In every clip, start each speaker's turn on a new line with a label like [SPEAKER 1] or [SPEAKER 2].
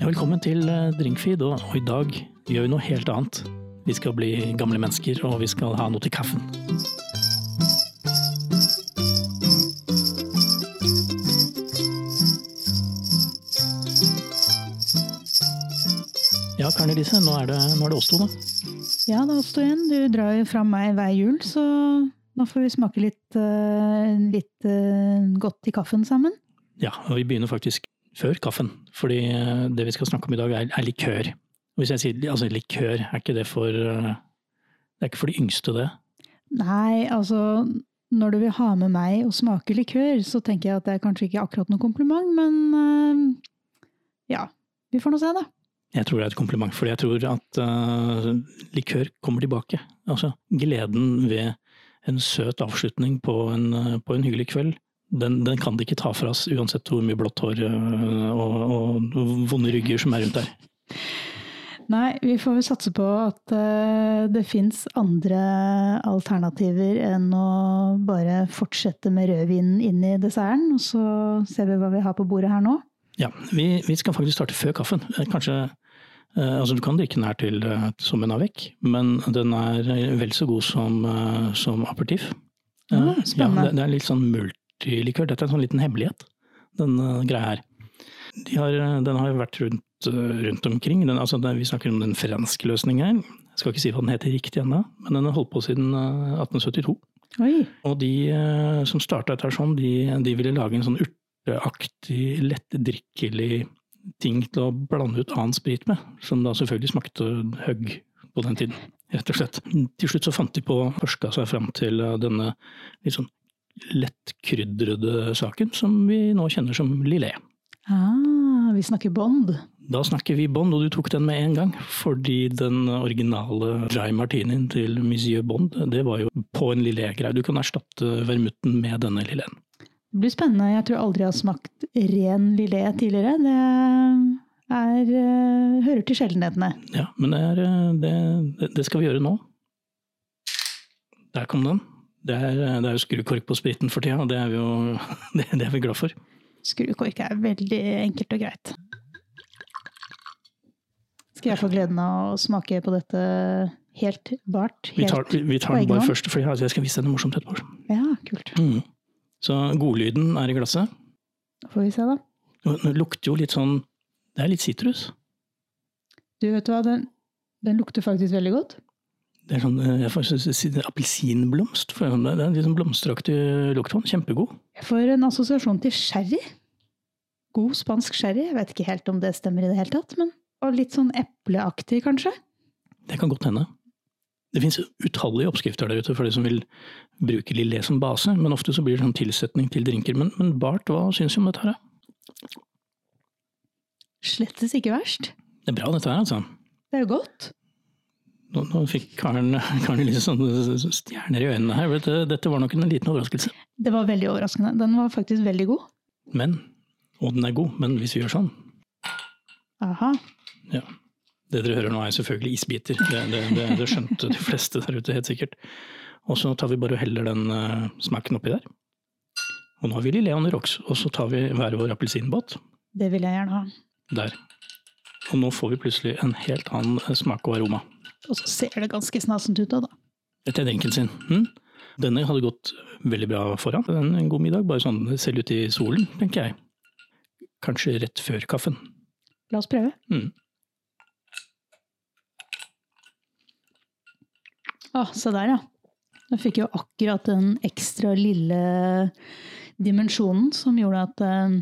[SPEAKER 1] Ja, velkommen til eh, Drinkfeed, og, og i dag gjør vi noe helt annet. Vi skal bli gamle mennesker, og vi skal ha noe til kaffen. Ja, Karen Elise, nå er det, nå er det oss to, da.
[SPEAKER 2] Ja, da står igjen. Du drar jo fra meg hver jul, så nå får vi smake litt, eh, litt eh, godt i kaffen sammen.
[SPEAKER 1] Ja, og vi begynner faktisk før kaffen, fordi eh, det vi skal snakke om i dag, er, er likør. Og Hvis jeg sier altså, likør, er ikke det for eh, Det er ikke for de yngste, det.
[SPEAKER 2] Nei, altså når du vil ha med meg og smake likør, så tenker jeg at det er kanskje ikke akkurat noe kompliment, men eh, ja. Vi får nå se, da.
[SPEAKER 1] Jeg tror det er et kompliment, fordi jeg tror at eh, likør kommer tilbake. Altså, gleden ved en søt avslutning på en, eh, på en hyggelig kveld, den, den kan de ikke ta fra oss, uansett hvor mye blått hår eh, og, og vonde rygger som er rundt der.
[SPEAKER 2] Nei, vi får vel satse på at eh, det fins andre alternativer enn å bare fortsette med rødvinen inn i desserten, og så ser vi hva vi har på bordet her nå.
[SPEAKER 1] Ja, vi, vi skal faktisk starte før kaffen. Eh, Kanskje eh, Altså, du kan drikke den her til, eh, som en avec, men den er eh, vel så god som, eh, som aperitiff. Eh,
[SPEAKER 2] Ah, spennende.
[SPEAKER 1] Ja, det, det er litt sånn multilikør. Dette er en sånn liten hemmelighet, den eh, greia her. De har, eh, den har jo vært rundt, eh, rundt omkring. Den, altså, det, vi snakker om den franske løsningen her. Jeg skal ikke si hva den heter riktig ennå, men den har holdt på siden eh, 1872.
[SPEAKER 2] Oi!
[SPEAKER 1] Og de eh, som starta dette her sånn, de, de ville lage en sånn urteaktig, lettdrikkelig ting til å blande ut annen sprit med, som da selvfølgelig smakte høgg på den tiden, rett og slett. Til slutt så fant de på forska seg fram til eh, denne litt sånn lettkrydrede saken som vi nå kjenner som lillet.
[SPEAKER 2] Ah, vi snakker Bond.
[SPEAKER 1] Da snakker vi Bond, og du tok den med en gang, fordi den originale dry martinien til Monsieur Bond, det var jo på en lillet-greie. Du kan erstatte vermutten med denne lillet.
[SPEAKER 2] Det blir spennende. Jeg tror aldri jeg har smakt ren lillet tidligere. Det er, eh, hører til sjeldenhetene.
[SPEAKER 1] Ja, men det, er, eh, det, det skal vi gjøre nå. Der kom den. Det er, eh, det er jo skrukork på spriten for tida, og det er vi jo det, det er vi glad for.
[SPEAKER 2] Skrukork er veldig enkelt og greit. Skal jeg få gleden av å smake på dette helt bart?
[SPEAKER 1] Vi tar,
[SPEAKER 2] Helt.
[SPEAKER 1] vi, vi tar
[SPEAKER 2] på
[SPEAKER 1] den
[SPEAKER 2] egen
[SPEAKER 1] bare
[SPEAKER 2] hånd?
[SPEAKER 1] først, for jeg jeg skal vise deg noe morsomt etterpå.
[SPEAKER 2] Ja, kult.
[SPEAKER 1] Mm. Så godlyden er i glasset.
[SPEAKER 2] Da får vi se, da.
[SPEAKER 1] Og Den lukter jo litt sånn Det er litt sitrus.
[SPEAKER 2] Du, vet du hva, den, den lukter faktisk veldig godt.
[SPEAKER 1] Det er sånn, eh, jeg får si- si- Appelsinblomst. får jeg sånn, Det er en litt sånn blomsteraktig lukt på den. Kjempegod.
[SPEAKER 2] Jeg får en assosiasjon til sherry. God spansk sherry. Jeg vet ikke helt om det stemmer i det hele tatt, men og litt sånn epleaktig, kanskje.
[SPEAKER 1] Det kan godt hende. Det fins utallige oppskrifter der ute for de som vil bruke lillet som base, men ofte så blir det sånn tilsetning til drinker. Men, men Bart, hva syns du om dette her? da?
[SPEAKER 2] Slettes ikke verst.
[SPEAKER 1] Det er bra dette her, altså.
[SPEAKER 2] Det er jo godt.
[SPEAKER 1] Nå, nå fikk Karen, Karen litt sånne stjerner i øynene her. Vet du, dette var nok en liten overraskelse.
[SPEAKER 2] Det var veldig overraskende. Den var faktisk veldig god.
[SPEAKER 1] Men, og den er god, men hvis vi gjør sånn
[SPEAKER 2] Aha.
[SPEAKER 1] Ja. Det dere hører nå er selvfølgelig isbiter. Det, det, det, det skjønte de fleste der ute helt sikkert. Og så tar vi bare og heller den eh, smaken oppi der. Og nå har vi Lille on the rocks, og så tar vi hver vår appelsinbåt.
[SPEAKER 2] Det vil jeg gjerne ha.
[SPEAKER 1] Der. Og nå får vi plutselig en helt annen eh, smak og aroma.
[SPEAKER 2] Og så ser det ganske snasent ut òg, da.
[SPEAKER 1] Dette er drinken sin. Hm? Denne hadde gått veldig bra foran. Den er en god middag, bare sånn selv ute i solen, tenker jeg. Kanskje rett før kaffen.
[SPEAKER 2] La oss prøve.
[SPEAKER 1] Mm.
[SPEAKER 2] Å, se der, ja. Da fikk jeg jo akkurat den ekstra lille dimensjonen som gjorde at eh,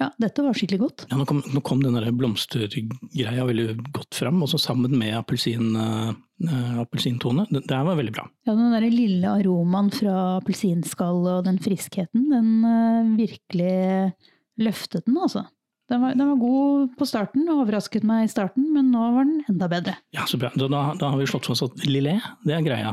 [SPEAKER 2] Ja, dette var skikkelig godt.
[SPEAKER 1] Ja, nå, kom, nå kom den der blomstergreia veldig godt fram, og så sammen med appelsin, eh, appelsintone. Det, det her var veldig bra.
[SPEAKER 2] Ja, den der lille aromaen fra appelsinskallet og den friskheten, den eh, virkelig løftet den, altså. Den var, den var god på starten, og overrasket meg i starten, men nå var den enda bedre.
[SPEAKER 1] Ja, så bra. Da, da, da har vi slått fast at lillet, det er greia.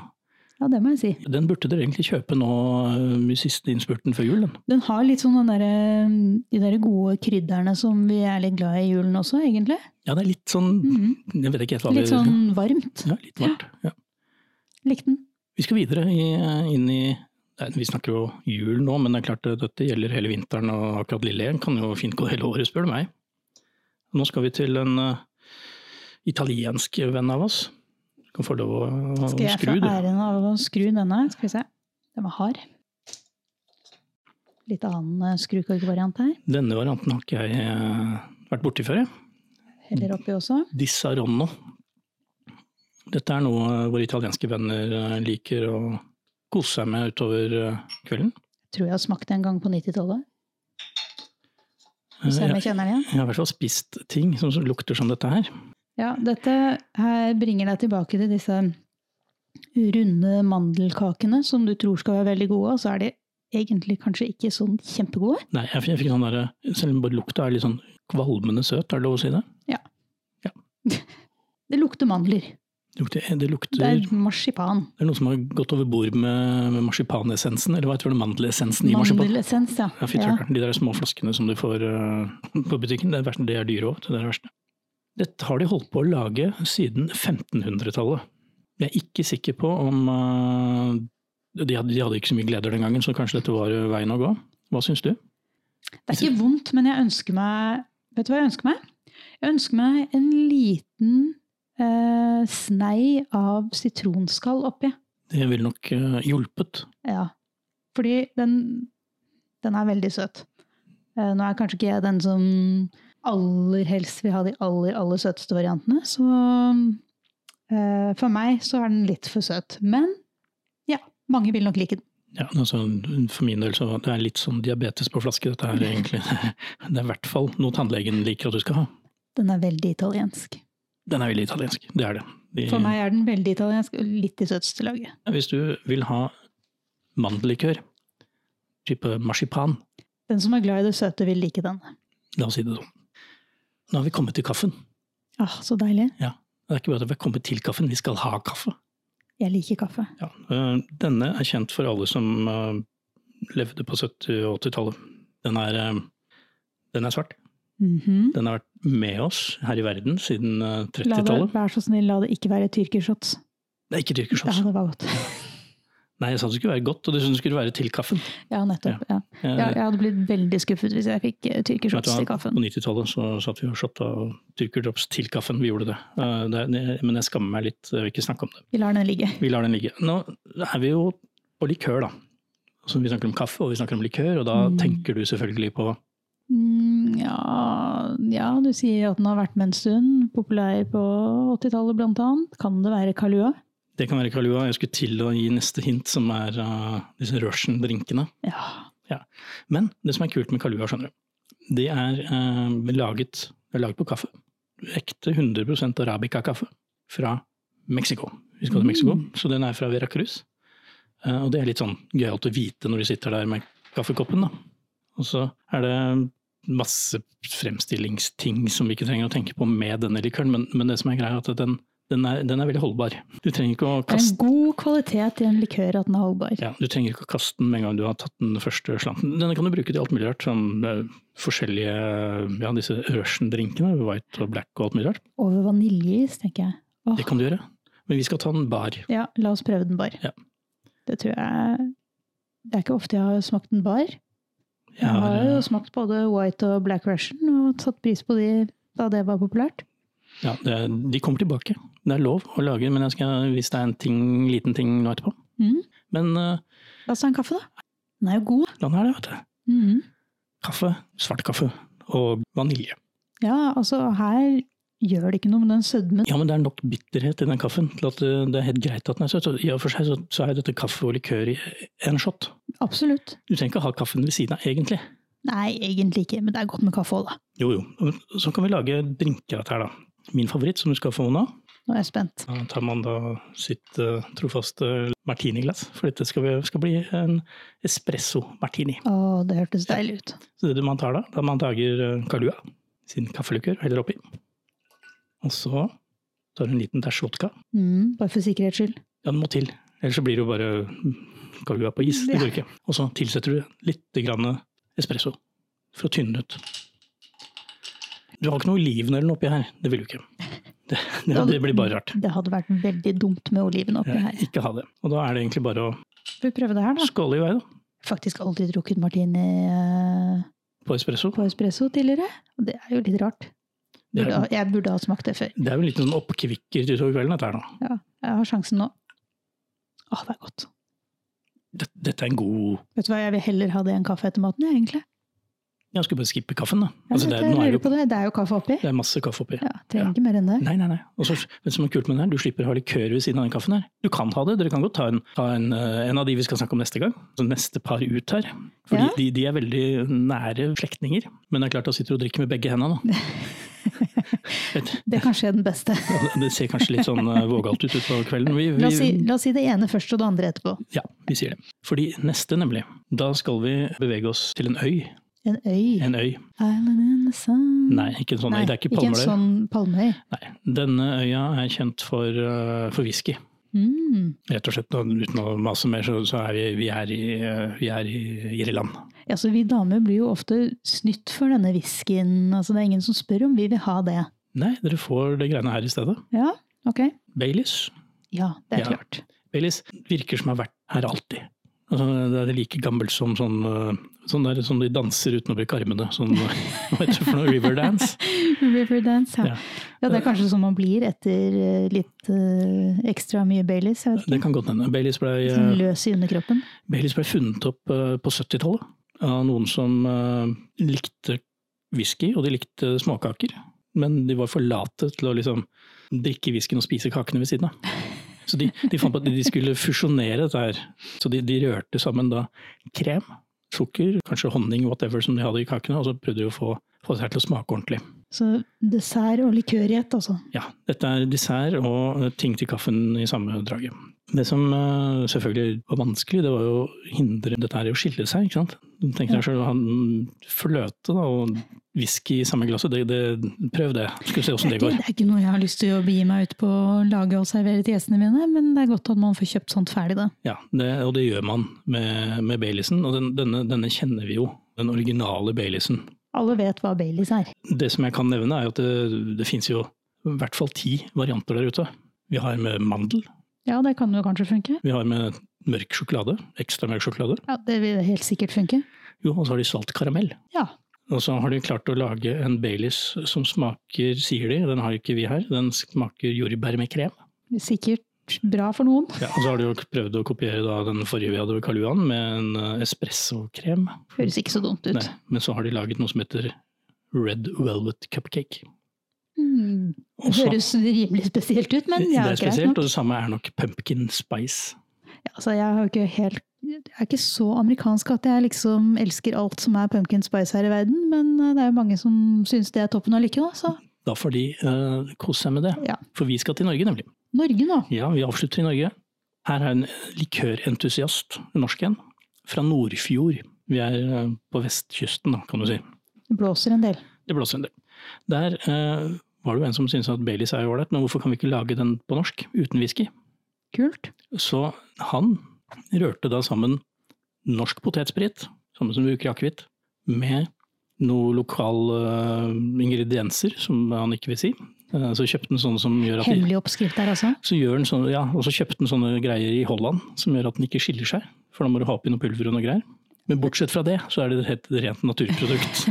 [SPEAKER 2] Ja, det må jeg si.
[SPEAKER 1] Den burde dere egentlig kjøpe nå eh, i siste innspurten før jul. den.
[SPEAKER 2] Den har litt sånn den derre- de der gode krydderne som vi er litt glad i i julen også, egentlig.
[SPEAKER 1] Ja, det er litt sånn
[SPEAKER 2] Mhm.
[SPEAKER 1] Jeg vet ikke helt hva
[SPEAKER 2] Litt
[SPEAKER 1] vi
[SPEAKER 2] sånn varmt.
[SPEAKER 1] Ja, litt varmt. Ja.
[SPEAKER 2] Likte den.
[SPEAKER 1] Vi skal videre i, eh, inn i nei, Vi snakker jo jul nå, men det er klart eh, dette gjelder hele vinteren, og akkurat lille kan jo fint gå hele året, spør du meg. Nå skal vi til en eh, italiensk venn av oss. Du kan få lov å, å
[SPEAKER 2] Skal jeg få
[SPEAKER 1] skru, du.
[SPEAKER 2] æren av å skru denne? Skal vi se. Den var hard. Litt annen eh, skrukorkvariant her.
[SPEAKER 1] Denne varianten har ikke jeg eh, vært borti før, jeg.
[SPEAKER 2] Heller oppi også.
[SPEAKER 1] Disaronno. Dette er noe eh, våre italienske venner eh, liker å kose seg med utover eh, kvelden.
[SPEAKER 2] Tror jeg har smakt det en gang på 90-tallet.
[SPEAKER 1] Eh,
[SPEAKER 2] Se om
[SPEAKER 1] Jeg,
[SPEAKER 2] jeg kjenner den igjen.
[SPEAKER 1] jeg har i hvert fall spist ting som som lukter som dette her.
[SPEAKER 2] Ja, dette her bringer deg tilbake til disse runde mandelkakene som du tror skal være veldig gode, og så er de egentlig kanskje ikke sånn kjempegode.
[SPEAKER 1] Nei, jeg, f- jeg fikk sånn der, Selv om bare lukta er litt sånn kvalmende søt, er det lov å si det?
[SPEAKER 2] Det lukter mandler.
[SPEAKER 1] Det lukter, eh, det lukter
[SPEAKER 2] Det er marsipan.
[SPEAKER 1] Det er noen som har gått over bord med, med marsipanessensen, eller hva heter det, mandelessensen i marsipan?
[SPEAKER 2] Mandelessens, ja.
[SPEAKER 1] Ja, fy
[SPEAKER 2] ja.
[SPEAKER 1] tøkkeren. De der små flaskene som du får eh, på butikken, det er, verst- det er dyre òg. Det er det verste. Dette har de holdt på å lage siden 1500-tallet. Jeg er ikke sikker på om eh, de, hadde, de hadde ikke så mye gleder den gangen, så kanskje dette var eh, veien å gå. Hva syns du?
[SPEAKER 2] Det er ikke vondt, men jeg ønsker meg Vet du hva jeg ønsker meg? Jeg ønsker meg en liten eh, snei av sitronskall oppi.
[SPEAKER 1] Det ville nok eh, hjulpet.
[SPEAKER 2] Ja. Fordi den, den er veldig søt. Eh, Nå er kanskje ikke jeg den som aller helst vil ha de aller, aller søteste variantene, så eh, for meg så er den litt for søt. Men ja, mange vil nok like den.
[SPEAKER 1] Ja, altså, for min del så det er litt sånn diabetes på flaske, dette her egentlig. Det er i hvert fall noe tannlegen liker at du skal ha.
[SPEAKER 2] Den er veldig italiensk.
[SPEAKER 1] Den er veldig italiensk, det er det. De,
[SPEAKER 2] For meg er den veldig italiensk, og litt i søteste laget.
[SPEAKER 1] Hvis du vil ha mandellikør, type marsipan,
[SPEAKER 2] Den som er glad i det søte, vil like den.
[SPEAKER 1] la oss si det sånn. Nå har vi kommet til kaffen.
[SPEAKER 2] Ah, så deilig.
[SPEAKER 1] Det er ikke bare at vi har kommet til kaffen, vi skal ha kaffe.
[SPEAKER 2] Jeg liker kaffe.
[SPEAKER 1] Ja, øh, denne er kjent for alle som øh, levde på 70- og 80-tallet. Den, er, øh, den er svart.
[SPEAKER 2] Mhm.
[SPEAKER 1] Den har vært med oss her i verden siden øh,
[SPEAKER 2] La det,
[SPEAKER 1] 30-tallet.
[SPEAKER 2] vær så snill, la det ikke være tyrkershots.
[SPEAKER 1] Det er ikke
[SPEAKER 2] Ja,
[SPEAKER 1] tyrkershots.
[SPEAKER 2] det var godt.
[SPEAKER 1] Nei, jeg sa det skulle være godt, og det synes det skulle være til kaffen.
[SPEAKER 2] Ja, nettopp. Ja.
[SPEAKER 1] Eh,
[SPEAKER 2] Ja, jeg hadde blitt veldig skuffet hvis jeg fikk eh,
[SPEAKER 1] Vet du
[SPEAKER 2] tyrkershots
[SPEAKER 1] hva?
[SPEAKER 2] i kaffen.
[SPEAKER 1] På 90-tallet så satt vi og shotta tyrkerdrops til kaffen. Vi gjorde det. Eh, det er- Men jeg skammer meg litt. Jeg vil ikke snakke om det.
[SPEAKER 2] Vi lar den ligge.
[SPEAKER 1] Vi lar den ligge. Nå er vi jo på likør, da. Så vi snakker om kaffe og vi snakker om likør, og da
[SPEAKER 2] Mm.
[SPEAKER 1] tenker du selvfølgelig på
[SPEAKER 2] Mm, ja, ja, du sier at den har vært med en stund. Populær på 80-tallet blant annet. Kan det være Kalua?
[SPEAKER 1] Det kan være Kalua. Jeg skulle til å gi neste hint, som er eh, disse Russian-drinkene.
[SPEAKER 2] Ja.
[SPEAKER 1] Men det som er kult med Kalua, skjønner du, det er eh, laget, det er laget på kaffe. Ekte 100 arabica-kaffe fra Mexico. Vi skal til Mexico, så den er fra Veracruz. Eh, og det er litt sånn gøyalt å vite når du sitter der med kaffekoppen, da. Og så er det masse fremstillingsting som vi ikke trenger å tenke på med denne likøren, men, men det som er greia, er at den, den, er, den er veldig holdbar. Du trenger ikke å
[SPEAKER 2] Det er
[SPEAKER 1] kaste
[SPEAKER 2] en god kvalitet i en likør at den er holdbar.
[SPEAKER 1] ja, Du trenger ikke å kaste den med en gang du har tatt den første slanten. Denne kan du bruke til alt mulig rart. Sånn, eh, forskjellige ja, disse Russian-drinkene, white og black og alt mulig rart.
[SPEAKER 2] Over vaniljeis, tenker jeg. Åh,
[SPEAKER 1] Det kan du gjøre. Men vi skal ta en bar.
[SPEAKER 2] ja, la oss prøve den bar.
[SPEAKER 1] Ja.
[SPEAKER 2] Det tror jeg Det er ikke ofte jeg har smakt den bar.
[SPEAKER 1] Jeg
[SPEAKER 2] Jeg har jo
[SPEAKER 1] har, eh,
[SPEAKER 2] smakt både white og black russian og satt pris på de da det var populært.
[SPEAKER 1] ja, det, de kommer tilbake. Det er lov å lage, men jeg skal vise deg en ting, liten ting nå etterpå.
[SPEAKER 2] Mm.
[SPEAKER 1] Men eh,
[SPEAKER 2] La oss ta en kaffe, da. Den er jo god.
[SPEAKER 1] den her, det, vet du.
[SPEAKER 2] Mhm.
[SPEAKER 1] Kaffe, svart kaffe og vanilje.
[SPEAKER 2] Ja, altså her gjør det ikke noe med den sødmen.
[SPEAKER 1] Ja, men det er nok bitterhet i den kaffen til at eh, det er helt greit at den er søt. Så I og for seg så, så er jo dette kaffe og likør i en shot.
[SPEAKER 2] Absolutt.
[SPEAKER 1] Du trenger ikke ha kaffen ved siden av, egentlig.
[SPEAKER 2] Nei, egentlig ikke, men det er godt med kaffe òg, da.
[SPEAKER 1] Jo, jo. Så kan vi lage drinker av dette her, da. Min favoritt, som du skal få nå.
[SPEAKER 2] Nå er jeg spent.
[SPEAKER 1] Da tar man da sitt eh, trofaste martiniglass, for dette skal, vi, skal bli en espresso martini.
[SPEAKER 2] Å, det hørtes deilig ut.
[SPEAKER 1] Så det man tar da, da man lager eh, Kalua, sin kaffeluker, heller oppi. Og så tar du en liten dash vodka.
[SPEAKER 2] Mm, bare for sikkerhets skyld.
[SPEAKER 1] Ja, det må til. Ellers så blir det jo bare mm, Kalua på is. Det
[SPEAKER 2] Ja.
[SPEAKER 1] går ikke. Og så tilsetter du litt grann espresso for å tynne det ut. Du har ikke noe oliven eller noe oppi her. Det vil du ikke. Det, det, det blir bare rart.
[SPEAKER 2] Det hadde vært veldig dumt med oliven oppi
[SPEAKER 1] Ja,
[SPEAKER 2] her.
[SPEAKER 1] Ikke ha det. Og da er det egentlig bare å
[SPEAKER 2] Får vi prøve det her, da?
[SPEAKER 1] skåle i vei, da.
[SPEAKER 2] Faktisk aldri drukket martini eh,
[SPEAKER 1] På espresso.
[SPEAKER 2] på espresso tidligere. Og det er jo litt rart.
[SPEAKER 1] Det
[SPEAKER 2] Burde,
[SPEAKER 1] er,
[SPEAKER 2] ha- jeg burde ha smakt det før.
[SPEAKER 1] det er jo en liten sånn oppkvikker utover kvelden, dette her nå.
[SPEAKER 2] Jeg har sjansen nå. Å, det er godt.
[SPEAKER 1] Dette, dette er en god
[SPEAKER 2] Vet du hva, jeg vil heller ha det enn kaffe etter maten, jeg, egentlig.
[SPEAKER 1] Jeg skulle bare skippe kaffen, da.
[SPEAKER 2] Ja,
[SPEAKER 1] Altså,
[SPEAKER 2] vet
[SPEAKER 1] det,
[SPEAKER 2] du,
[SPEAKER 1] er, nå
[SPEAKER 2] jeg
[SPEAKER 1] er det,
[SPEAKER 2] lurer på det. Det er jo kaffe oppi.
[SPEAKER 1] jo- det er masse kaffe oppi.
[SPEAKER 2] Ja, trenger ikke mer enn det.
[SPEAKER 1] Nei, nei, nei. Og så, vet du hva som er kult med den her? Du slipper å ha likør ved siden av den kaffen her. Du kan ha det, dere kan godt ta en, ta en, eh, en av de vi skal snakke om neste gang. Så neste par ut her. Fordi
[SPEAKER 2] Ja.
[SPEAKER 1] de, de er veldig nære slektninger. Men det er klart da sitter du og drikker med begge hendene, da. Et-
[SPEAKER 2] Det kanskje er den beste.
[SPEAKER 1] ja, Det ser kanskje litt sånn eh, vågalt ut utover kvelden. Vi,
[SPEAKER 2] La oss, si,
[SPEAKER 1] vi,
[SPEAKER 2] la oss si det ene først og det andre etterpå.
[SPEAKER 1] ja, vi sier det. Fordi neste, nemlig, da skal vi bevege oss til en øy.
[SPEAKER 2] En øy.
[SPEAKER 1] En øy.
[SPEAKER 2] Island in the sun.
[SPEAKER 1] Nei, ikke en sånn øy. Det er ikke
[SPEAKER 2] ikke en
[SPEAKER 1] Palmeøy.
[SPEAKER 2] sånn palmeøy.
[SPEAKER 1] Nei. Denne øya er kjent for, eh, for whisky.
[SPEAKER 2] Mm.
[SPEAKER 1] Rett og slett, da, uten å mase mer, så, så er vi, vi, er i, eh, vi er i Irland.
[SPEAKER 2] Ja, så vi damer blir jo ofte snytt for denne whiskyen. Altså, det er ingen som spør om vi vil ha det.
[SPEAKER 1] Nei, dere får det greiene her i stedet.
[SPEAKER 2] Ja, ok.
[SPEAKER 1] Baileys.
[SPEAKER 2] Ja, det er
[SPEAKER 1] Ja.
[SPEAKER 2] klart.
[SPEAKER 1] Baileys virker som har vært her alltid. Altså, det er like gammelt som sånn, eh, sånn der som de danser uten å bruke armene. Sånn, hva heter det for noe? Riverdance?
[SPEAKER 2] Riverdance, ja.
[SPEAKER 1] Ja.
[SPEAKER 2] ja. det er kanskje sånn man blir etter eh, litt eh, ekstra mye Baileys. Jeg vet
[SPEAKER 1] Det kan godt hende. Baileys ble,
[SPEAKER 2] ikke. Sånn
[SPEAKER 1] eh,
[SPEAKER 2] løs i underkroppen.
[SPEAKER 1] Baileys ble funnet opp eh, på 70-tallet av noen som eh, likte whisky, og de likte småkaker. Men de var for late til å liksom drikke whiskyen og spise kakene ved siden av. Så de, de fant på at de skulle fusjonere dette her. Så de, de rørte sammen da krem, sukker, kanskje honning, whatever som de hadde i kakene, og så prøvde de å få, få det her til å smake ordentlig.
[SPEAKER 2] Så dessert og likør i ett, altså.
[SPEAKER 1] Ja, dette er dessert og ting til kaffen i samme draget. Det som eh, selvfølgelig var vanskelig, det var jo å hindre dette her i å skille seg, ikke sant. Du tenker deg selv å ha en fløte da, og whisky i samme glasset, det, det, prøv det. Skal vi se
[SPEAKER 2] Det er,
[SPEAKER 1] åssen det
[SPEAKER 2] ikke,
[SPEAKER 1] går.
[SPEAKER 2] det er ikke noe jeg har lyst til å begi meg ut på å lage og servere til gjestene mine, men det er godt at man får kjøpt sånt ferdig, da.
[SPEAKER 1] Ja, det, og det gjør man med, med Baileysen, og den, denne, denne kjenner vi jo. Den originale Baileysen.
[SPEAKER 2] Alle vet hva Baileys er.
[SPEAKER 1] Det som jeg kan nevne, er jo at det, det finnes jo i hvert fall ti varianter der ute. Vi har med mandel,
[SPEAKER 2] Ja, det kan jo kanskje funke.
[SPEAKER 1] vi har med mørk sjokolade, ekstra mørk sjokolade.
[SPEAKER 2] Ja, Det vil helt sikkert funke.
[SPEAKER 1] Jo, og så har de salt karamell.
[SPEAKER 2] Ja.
[SPEAKER 1] Og så har de klart å lage en Baileys som smaker, sier de, den har ikke vi her, den smaker jordbær med krem.
[SPEAKER 2] Sikkert bra for noen.
[SPEAKER 1] Ja, og så har de jo prøvd å kopiere da den forrige vi hadde ved Karl Johan med en eh, espressokrem.
[SPEAKER 2] Høres ikke så dumt ut.
[SPEAKER 1] Nei, men så har de laget noe som heter Red Velvet Cupcake.
[SPEAKER 2] Hmm.
[SPEAKER 1] Og så-
[SPEAKER 2] Høres rimelig spesielt ut, men ja,
[SPEAKER 1] det er
[SPEAKER 2] greit
[SPEAKER 1] spesielt,
[SPEAKER 2] nok.
[SPEAKER 1] og det samme er nok Pumpkin Spice.
[SPEAKER 2] Ja, altså, jeg, har jo ikke helt, jeg er ikke så amerikansk at jeg liksom elsker alt som er pumpkin spice her i verden, men eh, det er jo mange som syns det er toppen av lykke, da. Så
[SPEAKER 1] Da får de eh, kose seg med det,
[SPEAKER 2] Ja.
[SPEAKER 1] for vi skal til Norge nemlig.
[SPEAKER 2] Norge, nå.
[SPEAKER 1] Ja, vi avslutter i Norge. Her er en likørentusiast, en norsk en, fra Nordfjord. Vi er eh, på vestkysten, da, kan du si.
[SPEAKER 2] Det blåser en del.
[SPEAKER 1] Det blåser en del. Der eh, var det jo en som syntes at Baileys er ålreit, men hvorfor kan vi ikke lage den på norsk uten whisky?
[SPEAKER 2] Kult.
[SPEAKER 1] Så han rørte da sammen norsk potetsprit, samme som vi bruker i akevitt, med noen lokale ingredienser, som han ikke vil si. Eh, Så kjøpte han sånne som gjør at de
[SPEAKER 2] Hemmelig oppskrift der, altså.
[SPEAKER 1] så gjør den sånn, ja, og så kjøpte den sånne greier i Holland som gjør at den ikke skiller seg. For da må du ha oppi noe pulver og noe greier. Men bortsett fra det, så er det et rent naturprodukt.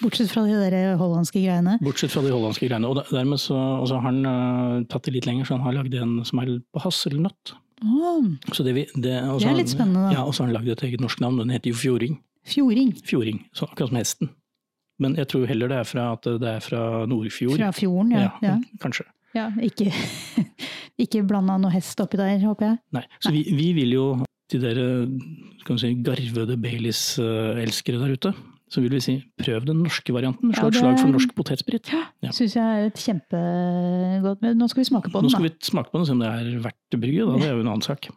[SPEAKER 2] Bortsett fra de der hollandske greiene.
[SPEAKER 1] Bortsett fra de hollandske greiene. Og der- dermed så, og så har han eh, tatt det litt lenger, så han har lagd en som er på hasselnøtt.
[SPEAKER 2] Åh,
[SPEAKER 1] Så det, vi, det, og så
[SPEAKER 2] Det er
[SPEAKER 1] har
[SPEAKER 2] litt
[SPEAKER 1] han-
[SPEAKER 2] spennende, da.
[SPEAKER 1] Ja, og så har han lagd et eget norsk navn. Den heter jo Fjording.
[SPEAKER 2] fjording
[SPEAKER 1] Fjording, så akkurat som hesten. Men jeg tror heller det er fra, at det er fra Nordfjord.
[SPEAKER 2] fra fjorden, ja. ja.
[SPEAKER 1] Kanskje.
[SPEAKER 2] ja. Ikke, ikke blanda noe hest oppi der, håper jeg.
[SPEAKER 1] Nei. Så vi, vi vil jo til dere skal vi si, garvede Baileys-elskere der ute, så vil vi si prøv den norske varianten. Slå
[SPEAKER 2] Ja,
[SPEAKER 1] et
[SPEAKER 2] det-
[SPEAKER 1] slag for norsk potetsprit. Ja.
[SPEAKER 2] Syns jeg er et kjempegodt Men nå skal vi smake på
[SPEAKER 1] Nå
[SPEAKER 2] den,
[SPEAKER 1] skal
[SPEAKER 2] da.
[SPEAKER 1] vi smake på den og se om det er verdt bryet. Da. Det er jo en annen sak.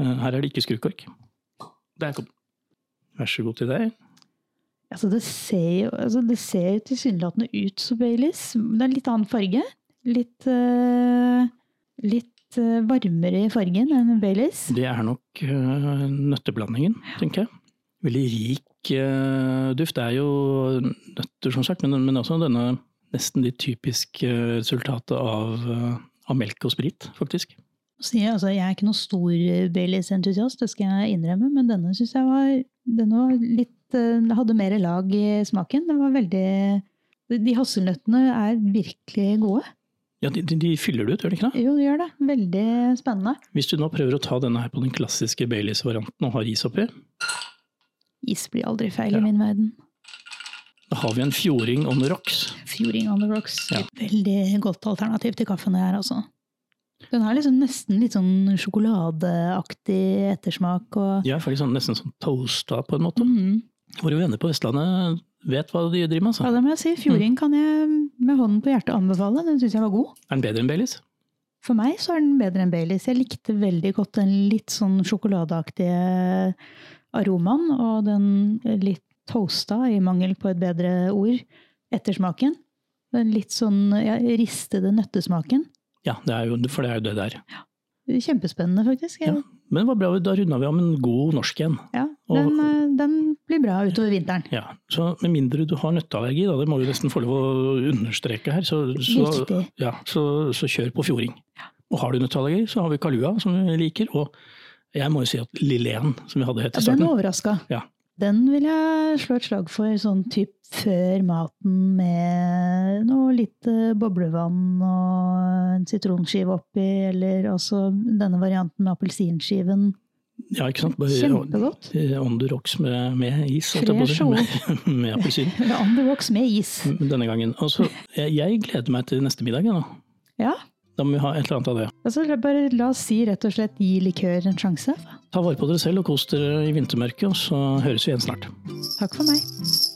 [SPEAKER 1] Eh, Her er det ikke skrukork. Der kom den. Vær så god til deg.
[SPEAKER 2] Altså, det ser jo altså, det ser tilsynelatende ut som Baileys. men Det er litt annen farge. Litt eh, Litt eh, varmere i fargen enn Baileys.
[SPEAKER 1] Det er nok eh, nøtteblandingen, tenker jeg. Veldig rik eh, duft. Det er jo nøtter, som sagt, men, men også denne nesten litt typiske eh, resultatet av, eh, av melk og sprit, faktisk.
[SPEAKER 2] Så jeg, altså, jeg er ikke noen stor eh, Baileys-entusiast, det skal jeg innrømme, men denne syns jeg var, denne var litt eh, den hadde mer lag i smaken. Den var veldig De de hasselnøttene er virkelig gode.
[SPEAKER 1] Ja, de, de, de fyller det ut, gjør de ikke det?
[SPEAKER 2] Jo, de gjør det. Veldig spennende.
[SPEAKER 1] Hvis du nå prøver å ta denne her på den klassiske Baileys-varianten og har is oppi,
[SPEAKER 2] Is blir aldri feil
[SPEAKER 1] Ja.
[SPEAKER 2] i min verden.
[SPEAKER 1] da har vi en fjording on the rocks.
[SPEAKER 2] Fjording on the rocks.
[SPEAKER 1] Ja.
[SPEAKER 2] Et Veldig godt alternativ til kaffen det her, altså. Den har liksom nesten litt sånn sjokoladeaktig ettersmak og
[SPEAKER 1] De er faktisk sånn, nesten sånn toasta, på en måte.
[SPEAKER 2] Mhm.
[SPEAKER 1] Våre venner på Vestlandet vet hva de driver med.
[SPEAKER 2] Ja,
[SPEAKER 1] Altså.
[SPEAKER 2] det må jeg si. Fjording kan jeg med hånden på hjertet anbefale. Den syns jeg var god.
[SPEAKER 1] Er den bedre enn Baileys?
[SPEAKER 2] For meg så er den bedre enn Baileys. Jeg likte veldig godt den litt sånn sjokoladeaktige aromaen og den litt toasta, i mangel på et bedre ord, ettersmaken. Den litt sånn ja, ristede nøttesmaken.
[SPEAKER 1] Ja, det er jo, for det er jo det der.
[SPEAKER 2] Kjempespennende, faktisk.
[SPEAKER 1] Ja.
[SPEAKER 2] Ja.
[SPEAKER 1] Men det var bra, da runda vi om en god norsk en.
[SPEAKER 2] Ja,
[SPEAKER 1] Og-
[SPEAKER 2] den, eh, den blir bra utover vinteren.
[SPEAKER 1] Ja, så Med mindre du har nøtteallergi, da, det må vi nesten få lov å understreke her, så, så,
[SPEAKER 2] Riktig.
[SPEAKER 1] ja, så, så kjør på fjording. Og har du nøtteallergi, så har vi kalua, som vi liker. Og jeg må jo si at Lilleen, som vi hadde helt
[SPEAKER 2] Ja,
[SPEAKER 1] i
[SPEAKER 2] den
[SPEAKER 1] starten
[SPEAKER 2] overraska.
[SPEAKER 1] Ja.
[SPEAKER 2] Den vil jeg slå et slag for sånn typ før maten med noe litt eh, boblevann og en sitronskive oppi, eller også denne varianten med appelsinskiven.
[SPEAKER 1] ja, ikke sant? Bare
[SPEAKER 2] Kjempegodt.
[SPEAKER 1] eh, On the rocks med, med is, holdt jeg på å
[SPEAKER 2] Fresh
[SPEAKER 1] si.
[SPEAKER 2] og
[SPEAKER 1] Med, med appelsin
[SPEAKER 2] On the rocks med is.
[SPEAKER 1] denne gangen. Og så, jeg, jeg gleder meg til neste middag. jeg, Da.
[SPEAKER 2] Ja.
[SPEAKER 1] da må vi ha et eller annet av det.
[SPEAKER 2] Altså, bare la oss si rett og slett gi likør en sjanse.
[SPEAKER 1] Ta vare på dere selv og kos dere i vintermørket, og så høres vi igjen snart.
[SPEAKER 2] Takk for meg.